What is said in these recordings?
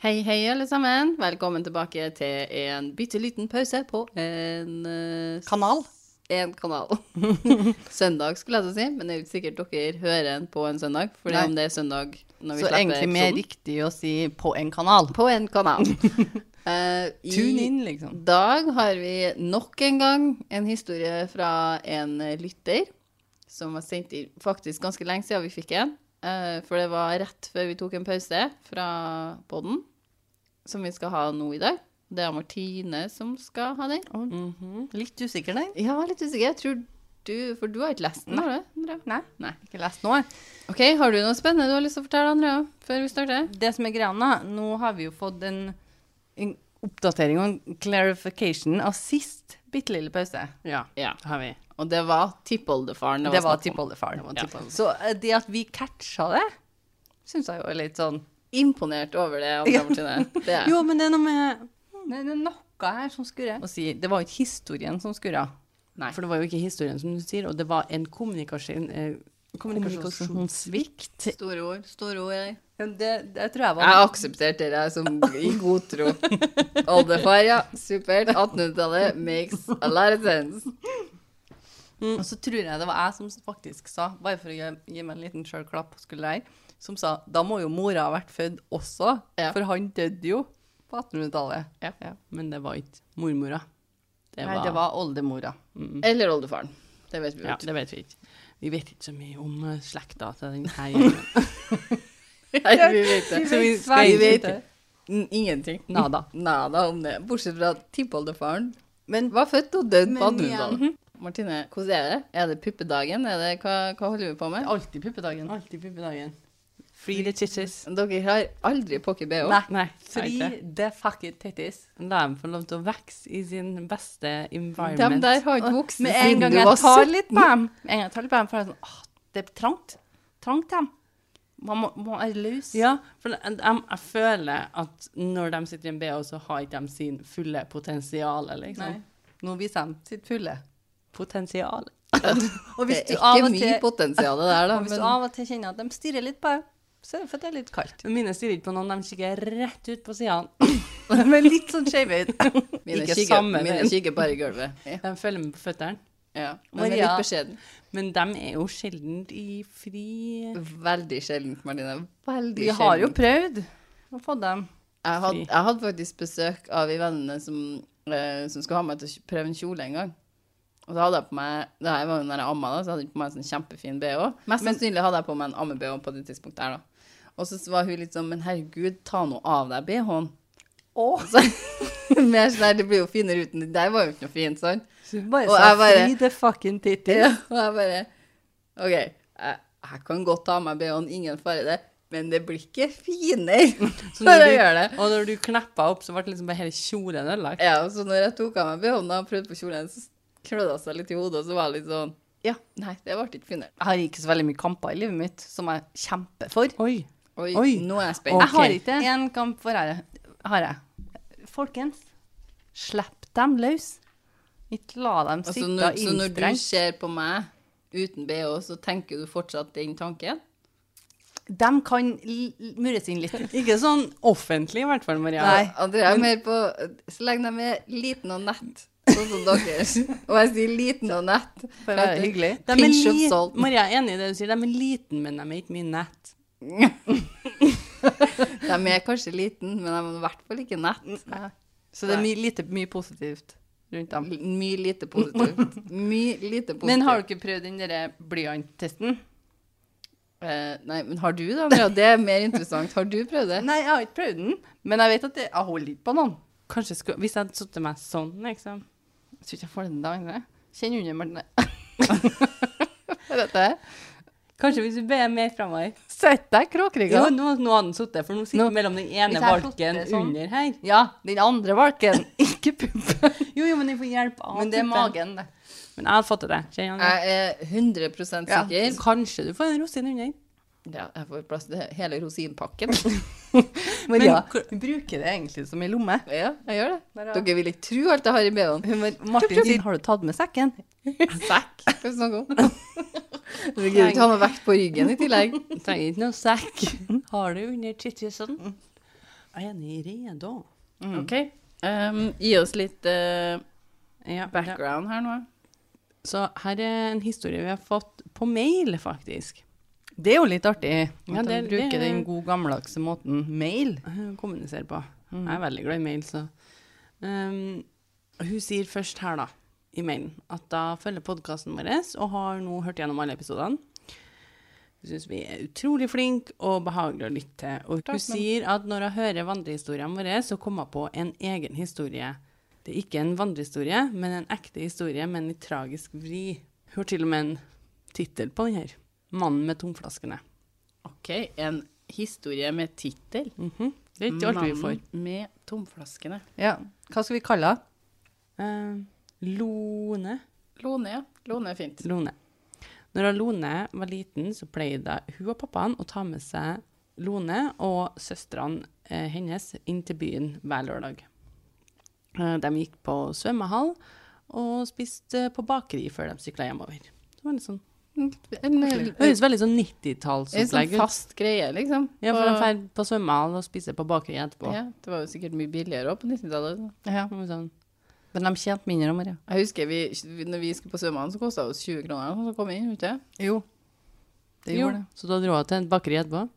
Hei, hei, alle sammen. Velkommen tilbake til en bitte liten pause på en eh, Kanal. En kanal. søndag, skulle jeg til å si, men det er jo ikke sikkert dere hører en på en søndag. For Nei. om det er søndag når vi Så slipper egentlig mer episoden. riktig å si på en kanal. På en kanal. Eh, i Tune in, liksom. dag har vi nok en gang en historie fra en lytter som var sendt inn faktisk ganske lenge siden vi fikk en. eh, for det var rett før vi tok en pause fra podden, som vi skal ha nå i dag. Det er Martine som skal ha den. Litt usikker, nei? Ja, litt usikker. Jeg tror du, For du har ikke lest den, har du? Andrea? Nei. Nei. Ikke lest nå, jeg. OK, har du noe spennende du har lyst til å fortelle, Andrea, før vi starter? Det som er greia, nå, nå har vi jo fått en, en oppdatering og en clarification av sist bitte lille pause. Ja, Ja. det har vi. Og det var tippoldefaren Det var snakk om. tippoldefaren. var Ja. tippoldefaren. Så eh, det at vi catcha det, syns jeg jo er litt sånn Imponert over det, Andrea Martine. Det er. Jo, men det er noe med Det er noe her som skurrer. Å si, det var jo ikke historien som skurra. Nei. For det var jo ikke historien, som du sier, og det var en kommunikasjon, eh, kommunikasjonssvikt. Store ord. Store ord, jeg. Men Det, det tror jeg var Jeg aksepterte det som i god tro. Oldefar, ja. Supert. 1800-tallet makes a lot of sense. Mm. Og så tror jeg det var jeg som faktisk sa, bare for å gi, gi meg en liten sjølklapp på skuldra her, som sa da må jo mora ha vært født også, Ja. for han døde jo på 1800-tallet. Ja. Men det var ikke mormora. Det Mm. Nei, det var oldemora. Eller oldefaren. Det vet vi jo Ja, ikke. det vet vi ikke. Vi vet ikke så mye om eh, slekta til den her gjengen. Nei, vi vet det. Så vi skal vite N- Ingenting. Nada. Nada om det. Bortsett fra at tippoldefaren men var født og død på Men Mhm. igjen. 1800-tallet. Martine, hvordan er det? Er det puppedagen? Er det, hva, hva holder vi på med? Alltid puppedagen. Alltid puppedagen. Free the titties. Dere har aldri pocket BH. Nei, Nei, Free fri. the fucking titties. La dem få lov til å vokse i sin beste De environment. der har ikke vokst Med en siden gang du jeg var tar 17. litt på dem, med en gang jeg tar litt på dem, får jeg sånn åh, det er trangt. Trangt dem. Man må, må være løs. Ja, for jeg, jeg, jeg føler at når de sitter i en BH, så har ikke de sin fulle potensial, Nei. liksom. Nå viser de sitt fulle. Potensial. Og Det hvis er du av ikke og mye til potensial det der, da. Og hvis du Men av og til kjenner at de stirrer litt på deg, så er det for at det er litt kaldt. Men Mine stirrer ikke på noen, de kikker rett ut på sidene. De er litt sånn skeive ut. mine ikke kikker- samme mine veien. kikker bare i gulvet. Ja. De følger med på føttene. Ja, men Men er ja. litt beskjeden. Men de er jo sjelden i fri Veldig sjeldent, Martine. Veldig Vi har jo sjeldent. prøvd å få dem. Jeg hadde, jeg hadde faktisk besøk av en venninne som, eh, som skulle ha meg til å prøve en kjole en gang. Og så hadde jeg på meg Det her var jo når jeg amma, da, så hadde jeg på meg en sånn kjempefin bh. Mest sannsynlig hadde jeg på meg en amme-bh på det tidspunktet her, da. Og så var hun litt sånn Men herregud, ta nå av deg bh-en. Åh. Så, mer sånn her, det blir jo finere uten Det der var jo ikke noe fint, sant? Bare Og sa jeg bare- free the fucking titties. Ja, og jeg bare OK, jeg, jeg kan godt ta av meg bh-en, ingen fare det, men det blir ikke finere Så når når jeg du- gjør det. Og når du kneppa opp, så ble det liksom bare hele kjolen ødelagt. Ja, og så når jeg tok av meg bh-en og prøvde på kjolen, så klødde jeg seg litt i hodet, og så var jeg litt sånn Ja, nei, det ble ikke finere. Jeg har ikke så veldig mye kamper i livet mitt som jeg kjemper for. Oi. Oi, Oi. nå er jeg Ok. spent. Jeg har ikke én kamp for ære. Har jeg. Folkens, slipp dem løs. Ikke la dem Altså, sitte når, så når du innstrengt. ser på meg uten bh, så tenker du fortsatt den tanken? De kan l- l- mures inn litt. Ikke sånn offentlig, i hvert fall, Maria. Nei. Andrea er mer på Så lenge de er liten og nett, sånn som dere. Og jeg sier liten og nett. For å være hyggelig. De er Pinch of li- salt. Maria er enig i det du sier, de er liten, men de er ikke mye nett. De er kanskje liten, men de er i hvert fall ikke nett. Så det er mye, lite, mye positivt rundt dem. L- Mye lite positivt. Mye lite positivt. Men har du ikke prøvd den derre blyanttesten? Eh, nei, men har du det, Andrea? Det er mer interessant. Har du prøvd det? Nei, jeg har ikke prøvd den, men jeg vet at det, jeg holder ikke på noen. Kanskje skulle, Hvis jeg hadde sittet meg sånn, liksom Jeg tror ikke jeg får den da. Ingrid. Kjenn under, Martine. Vet du? Kanskje hvis du ber mer framover. Sett deg kråkrygga. Jo, nå, nå hadde den sittet, for nå sitter den mellom den ene Hvis jeg hadde valken sittet sånn. under her. Ja, den andre valken, ikke puppen. Jo, jo, men den får hjelp av Men det er puppen. magen, det. Men jeg hadde fått til det. Kjenner jeg. Jeg er 100 sikker. Ja. Ja. Kanskje du får en rosin under. jeg får plass til hele rosinpakken. Maria, Men- hun bruker det egentlig som ei lomme. ja, jeg gjør det. Der, ja. Dere vil ikke tro alt jeg har i bh-en. Hun, var- Martin sier 'har du tatt med sekken'? Sekk. Hva skal vi snakke om? Dere gidder ikke ha noe vekt på ryggen i tillegg. Trenger ikke noe sekk. Har du under tittisene? Er ni redo? Mm. OK. Um, gi oss litt eh, Ja, det- background her nå. Så her er en historie vi har fått på mail, faktisk. Det er jo litt artig at Ja, det- de bruker det- den gode gammeldagse måten mail. Eh, Kommunisere på. Jeg er veldig glad i mail, så um, Hun sier først her, da, i mailen, at da følger podkasten vår og har nå hørt gjennom alle episodene. Hun syns vi er utrolig flinke og behagelige å lytte til. Og hun sier at når hun hører vandrehistoriene våre, så kommer hun på en egen historie. Det er ikke en vandrehistorie, men en ekte historie med en litt tragisk vri. Hun har til og med en tittel på den her. 'Mannen med tomflaskene'. OK, en historie med tittel. Mhm. Det er ikke alt vi får. Mannen med tomflaskene. Ja. Hva skal vi kalle det? Eh, Lone. Lone, ja. Lone er fint. Lone. Når Lone var liten, så pleide hun og pappaen å ta med seg Lone og søstrene eh, hennes inn til byen hver lørdag. Eh, de gikk på svømmehall og spiste på bakeri før de sykla hjemover. Det var litt sånn, En, eh, det høres veldig sånn en sånn 90-tallsopplegg ut. fast greie, liksom. Ja, for de Og- drar på svømmehall og spiser på bakeri etterpå. Ja, det var jo sikkert mye billigere også på 90-tallet. Det var Sånn. Men de tjente mindre, Maria. Jeg husker vi, når vi skulle på svømmehallen, så kosta det oss 20 kroner eller noe sånt å komme inn. vet du? Jo. Det Jo, gjorde det. Så da dro hun til et bakeri etterpå.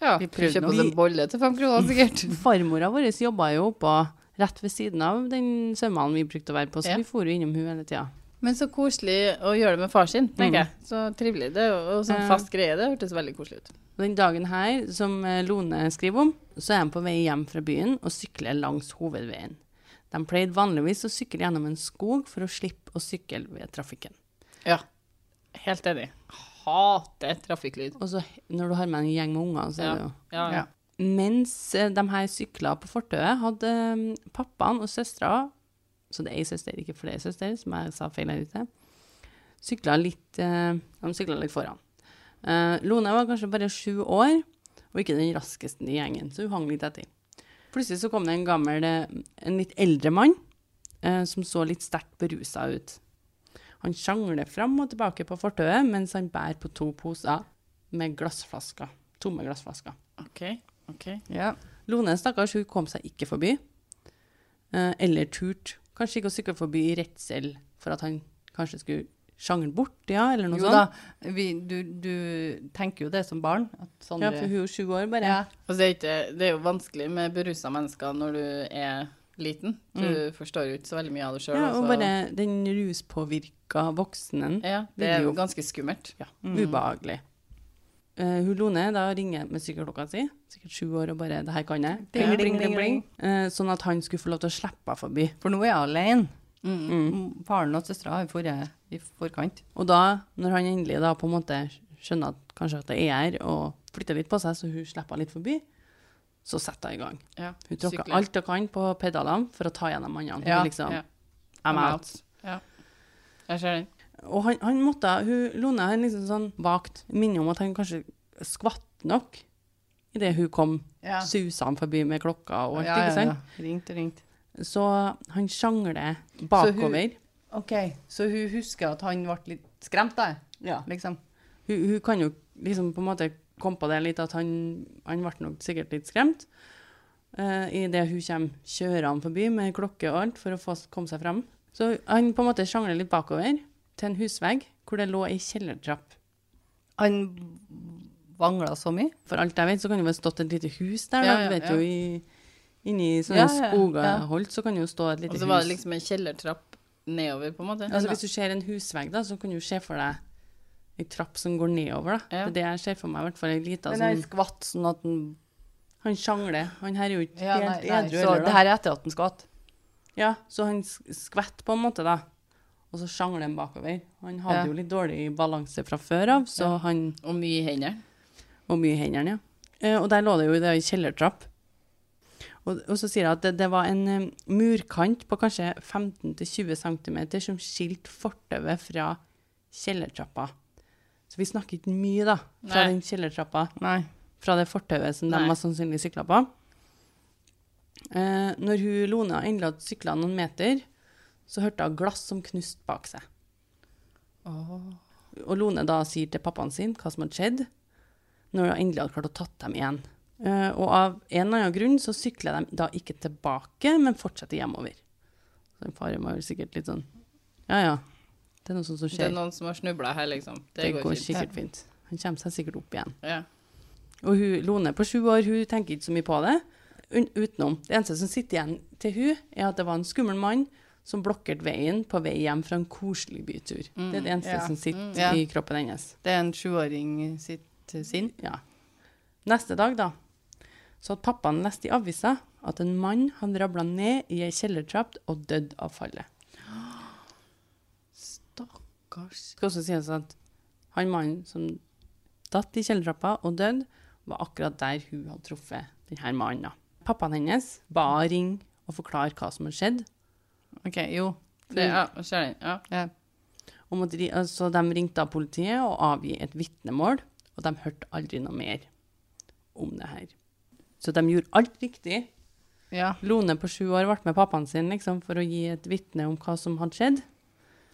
Ja, Vi vi prøvde Mm. kjøpte oss nå. en bolle til 5 kroner, sikkert. Farmora vår jobba jo oppå rett ved siden av den svømmehallen vi brukte å være på, så Ja. vi for jo innom hun hele tida. Men så koselig å gjøre det med far sin, tenker Mm. jeg. Så trivelig. Det er jo og sånn Ja. fast greie. Det hørtes veldig koselig ut. Og Den dagen her, som eh, Lone skriver om, så er han på vei hjem fra byen og sykler langs hovedveien. De pleide vanligvis å sykle gjennom en skog for å slippe å sykle ved trafikken. Ja. Helt enig. Hater trafikklyd. Og så he- når du har med en gjeng med unger, så er det jo Ja. Ja. Mens eh, de her sykla på fortauet, hadde eh, pappaen og søstera Så det er ei søster, ikke flere søster, som jeg sa feil her ute. Sykla litt eh, De sykla litt foran. Eh, Lone var kanskje bare sju år, og ikke den raskeste i gjengen, så hun hang litt etter. Plutselig så kom det en gammel, eh, en litt eldre mann, eh, som så litt sterkt berusa ut. Han sjangler fram og tilbake på fortauet mens han bærer på to poser med glassflasker. Tomme glassflasker. OK. ok. Ja. Lone, stakkars, hun kom seg ikke forbi. Eh, eller turt. Kanskje ikke å sykle forbi i redsel for at han kanskje skulle sjangle bort, ja, eller noe Jo da, sånt. vi, du, du tenker jo det som barn. At Ja, Sondre for hun er sju år bare. Ja. Altså, det, er ikke, det er jo vanskelig med berusa mennesker når du er liten. Du forstår jo ikke så veldig mye av det sjøl. Mm. Ja, og bare den ruspåvirka voksnen. ja, det vil er jo- jo ganske skummelt. Ja, ubehagelig. Eh, hun Lone da ringer med sykkelklokka si, sikkert sju år, og bare 'det her kan jeg'. Bling, bling, bling, bling. Eh, sånn at han skulle få lov til å slippe henne forbi. For nå er jeg alene. Mm. Faren og søstera har vært i forkant. Og da, når han endelig da på en måte skjønner at kanskje at det er her, og flytter litt på seg, så hun slipper han litt forbi, så setter hun i gang. Ja. Hun tråkker Sykler. alt hun kan på pedalene for å ta gjennom mannene. Hun Ja, liksom, ja. I'm I'm out. Ja. Jeg ser den. Og han, han måtte, hun, Lone han liksom sånn vagt minner om at han kanskje skvatt nok idet hun kom Ja. susende forbi med klokka og alt, Ja, ja, ikke sant? ja. Ringt og ringt. Så han sjangler bakover. OK, så hun husker at han ble litt skremt, da? ja. Liksom. hun, hun kan jo liksom på en måte komme på det litt at han, han ble nok sikkert litt skremt. Uh, Idet hun kommer kjørende forbi med klokke og alt for å få, komme seg fram. Så han på en måte sjangler litt bakover til en husvegg hvor det lå ei kjellertrapp. Han vangla så mye. For alt jeg vet, så kan det jo ha stått et lite hus der. Ja, da. ja, du vet ja. jo, i, Inni sånne Ja, ja, ja. skogaholt så kan det jo stå et lite Og hus. så var det liksom en kjellertrapp nedover, på en måte. altså, hvis du ser en husvegg, da, så kan du se for deg ei trapp som går nedover. da. Ja. Det er det jeg ser for meg. i hvert fall ei lita Men sånn- han skvatt sånn at han Han sjangler. Han her er jo ikke ja, helt nei, nei, edru Så heller, det da. her er etter at han skvatt? Ja, så han s- skvetter på en måte, da. Og så sjangler han bakover. Han hadde Ja. jo litt dårlig balanse fra før av, så han Og mye i hendene. Og mye i hendene, ja. Eh, og der lå det jo i det i kjellertrapp. Og, og så sier jeg at det, det var en eh, murkant på kanskje 15-20 cm som skilte fortauet fra kjellertrappa. Så vi snakker ikke mye, da, fra Nei. den kjellertrappa. Nei. fra det fortauet som de Nei. har sannsynlig sykla på. Eh, når hun Lona endelig hadde sykla noen meter, så hørte hun glass som knust bak seg. Og Lone da sier til pappaen sin hva som hadde skjedd, når hun endelig hadde klart å tatt dem igjen. Eh, og av en eller annen grunn så sykler de da ikke tilbake, men fortsetter hjemover. Så faren var vel sikkert litt sånn Ja, ja. Det er noe sånt som Det skjer. er Det, noen som har snubla her, liksom. Det, går, fint. sikkert fint. Han kommer seg sikkert opp igjen. Ja. Og hun, Lone på sju år hun tenker ikke så mye på det, un utenom. Det eneste som sitter igjen til hun, er at det var en skummel mann som blokkerte veien på vei hjem fra en koselig bytur. det er det eneste ja. som sitter Mm, ja. i kroppen hennes. Det er en sjuåring sitt eh, sinn. Ja. Neste dag, da, så hadde pappaen lest i avisa at en mann hadde rabla ned i ei kjellertrapp og dødd av fallet. Stakkars. Det skal også sies at han mannen som datt i kjellertrappa og døde, var akkurat der hun hadde truffet denne mannen. da. Pappaen hennes ba henne ringe og forklare hva som hadde skjedd. OK, jo. Det, ja, jeg ser den. Ja. Ja. Og måtte, ri- altså, de ringte av politiet og avgi et vitnemål, og de hørte aldri noe mer om det her. Så de gjorde alt riktig. Ja. Lone på sju år ble med pappaen sin liksom, for å gi et vitne om hva som hadde skjedd.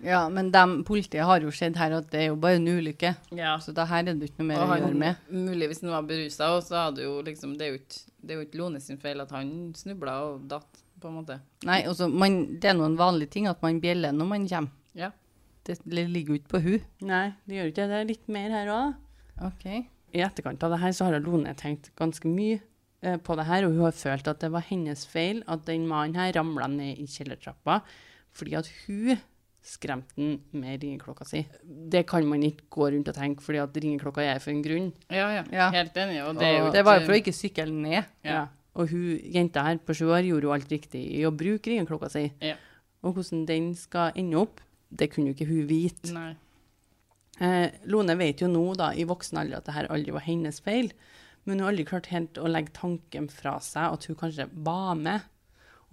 ja, men dem, politiet har jo sett her at det er jo bare en ulykke. ja. Så det her er det jo ikke noe mer Og å han, gjøre med. mulig hvis han var berusa, og så hadde jo liksom Det er jo ikke, det er jo ikke Lone sin feil at han snubla og datt, på en måte. Nei, altså, man, det er noen vanlige ting at man bjeller når man kommer. Ja. Det ligger jo ikke på hun. Nei, det gjør ikke det. Det er litt mer her òg. OK. I etterkant av det her så har Lone tenkt ganske mye eh, på det her, og hun har følt at det var hennes feil at den mannen her ramla ned i kjellertrappa fordi at hun skremte den med ringeklokka si. Det kan man ikke gå rundt og tenke, fordi at ringeklokka er for en grunn. Ja, ja. Ja. Helt enig. Og det er jo eh, det var jo ikke- for å ikke sykle ned. Ja. Og hun jenta her på sju år gjorde jo alt riktig i å bruke ringeklokka si. Ja. Og hvordan den skal ende opp, det kunne jo ikke hun vite. Nei. Eh, Lone vet jo nå da, i voksen alder at det her aldri var hennes feil, men hun har aldri klart helt å legge tanken fra seg at hun kanskje var med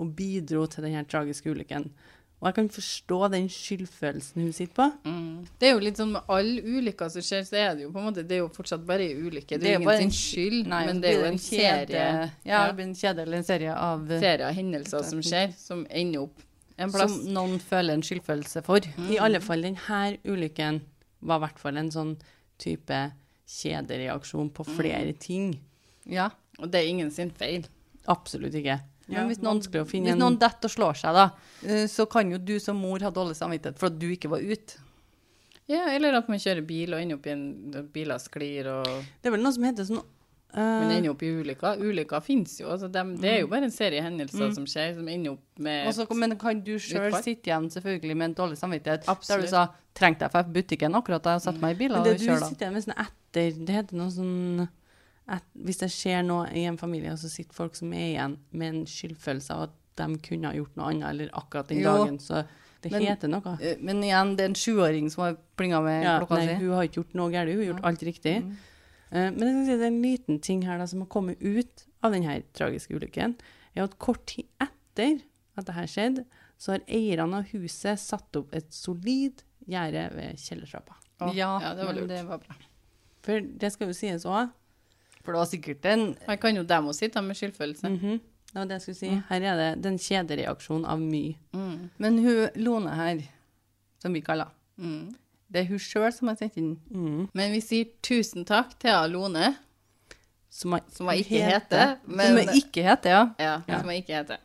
og bidro til denne tragiske ulykken. Og jeg kan forstå den skyldfølelsen hun sitter på. Det er jo litt sånn med alle ulykker som skjer, så er det jo på en måte Det er jo fortsatt bare en ulykke. Det Det er er jo bare ingen sin en- skyld, Nei, men så det er blir jo en serie, Ja, ja. det blir en kjede eller en serie av eh, serie av hendelser som skjer, som ender opp en plass. som noen føler en skyldfølelse for. I alle fall denne ulykken var i hvert fall en sånn type kjedereaksjon på flere ting. Ja. Og det er ingen sin feil. Absolutt ikke. Men hvis noen, Vanskelig å finne hvis en noen detter og slår seg, da, eh, så kan jo du som mor ha dårlig samvittighet for at du ikke var ute. Ja, eller at man kjører bil og ender opp i en at Biler sklir og Det er vel noe som heter sånn Man eh, ender opp i ulykker. Ulykker fins jo. Altså dem, det er jo bare en serie hendelser som skjer, som ender opp med Mm. Og så kan- men kan du sjøl Utfall. sitte igjen selvfølgelig med en dårlig samvittighet der Absolutt. du sa 'trengte jeg fra butikken akkurat da jeg satte meg i bilen Men og det du kjørte'? sitter igjen med sånn etter Det heter noe sånn et, Hvis det skjer noe i en familie, og så sitter folk som er igjen med en skyldfølelse av at de kunne ha gjort noe annet, eller akkurat den Jo, dagen, så det men- heter noe. Eh, Men igjen, det er en sjuåring som har plinga med Ja, klokka Mm. nei, si. hun har ikke gjort noe galt, hun har gjort alt riktig. Eh, Men jeg skal si, at det er en liten ting her da, som har kommet ut av denne tragiske ulykken, er at kort tid etter at dette skjedde, så har eierne av huset satt opp et solid gjerde ved kjellertrappa. Å, Ja, ja, det var men lurt. det var bra. For det skal jo sies òg, For det var sikkert en Her kan jo dem òg sitte med Mm. skyldfølelse. Mhm. Det var det jeg skulle si. Her er det den kjedereaksjonen av mye. Men hun Lone her, som vi kaller Mm. det er hun sjøl som har sendt inn. Mm. Men vi sier tusen takk til Alone, Som, jeg- som jeg ikke heter, Men, men som ikke heter, ja. ja, Ja. som jeg ikke heter.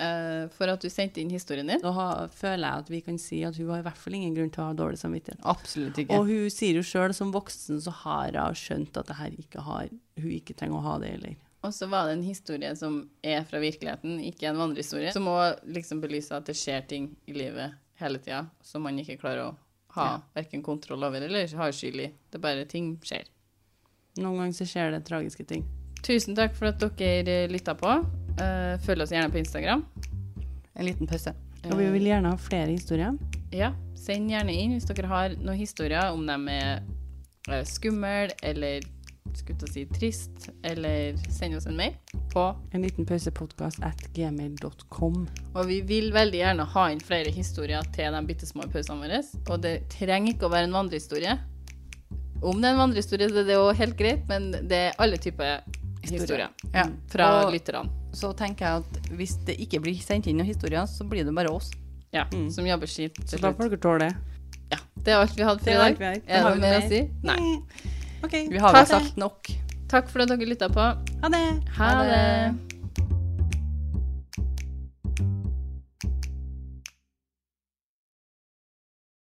Eh, for at du sendte inn historien din. Da har, føler jeg at vi kan si at hun har i hvert fall ingen grunn til å ha dårlig samvittighet. Absolutt ikke. Og hun sier jo sjøl, som voksen så har hun skjønt at det her ikke har, hun ikke trenger å ha det heller. Og så var det en historie som er fra virkeligheten, ikke en vandrehistorie, som òg liksom belyser at det skjer ting i livet hele tida som man ikke klarer å ha hverken kontroll over eller har skyld i. Det er bare ting skjer. Noen ganger så skjer det tragiske ting. Tusen takk for at dere lytta på. Eh, Følg oss gjerne på Instagram. en liten pause. Og vi vil gjerne ha flere historier. Ja, send gjerne inn hvis dere har noen historier om dem er eh, skummel eller skulle til å si trist, eller send oss en mail på En liten pausepodkast at gmail.com. Og vi vil veldig gjerne ha inn flere historier til de bitte små pausene våre. Og det trenger ikke å være en vandrehistorie. Om det er en vandrehistorie, så er det òg helt greit, men det er alle typer historier Ja. fra Mm. Og lytterne. så tenker jeg at hvis det ikke blir sendt inn noen historier, så blir det bare oss. Ja, Som jobber skitt Mm. Så til da slutt. får dere tåle det. Ja, det er alt vi hadde for i Det er alt dag. vi har. Er Har det vi mer å noe si? Nei. OK. Vi har vel Takk. sagt nok. Takk for at dere lytta på. Ha det! Ha det.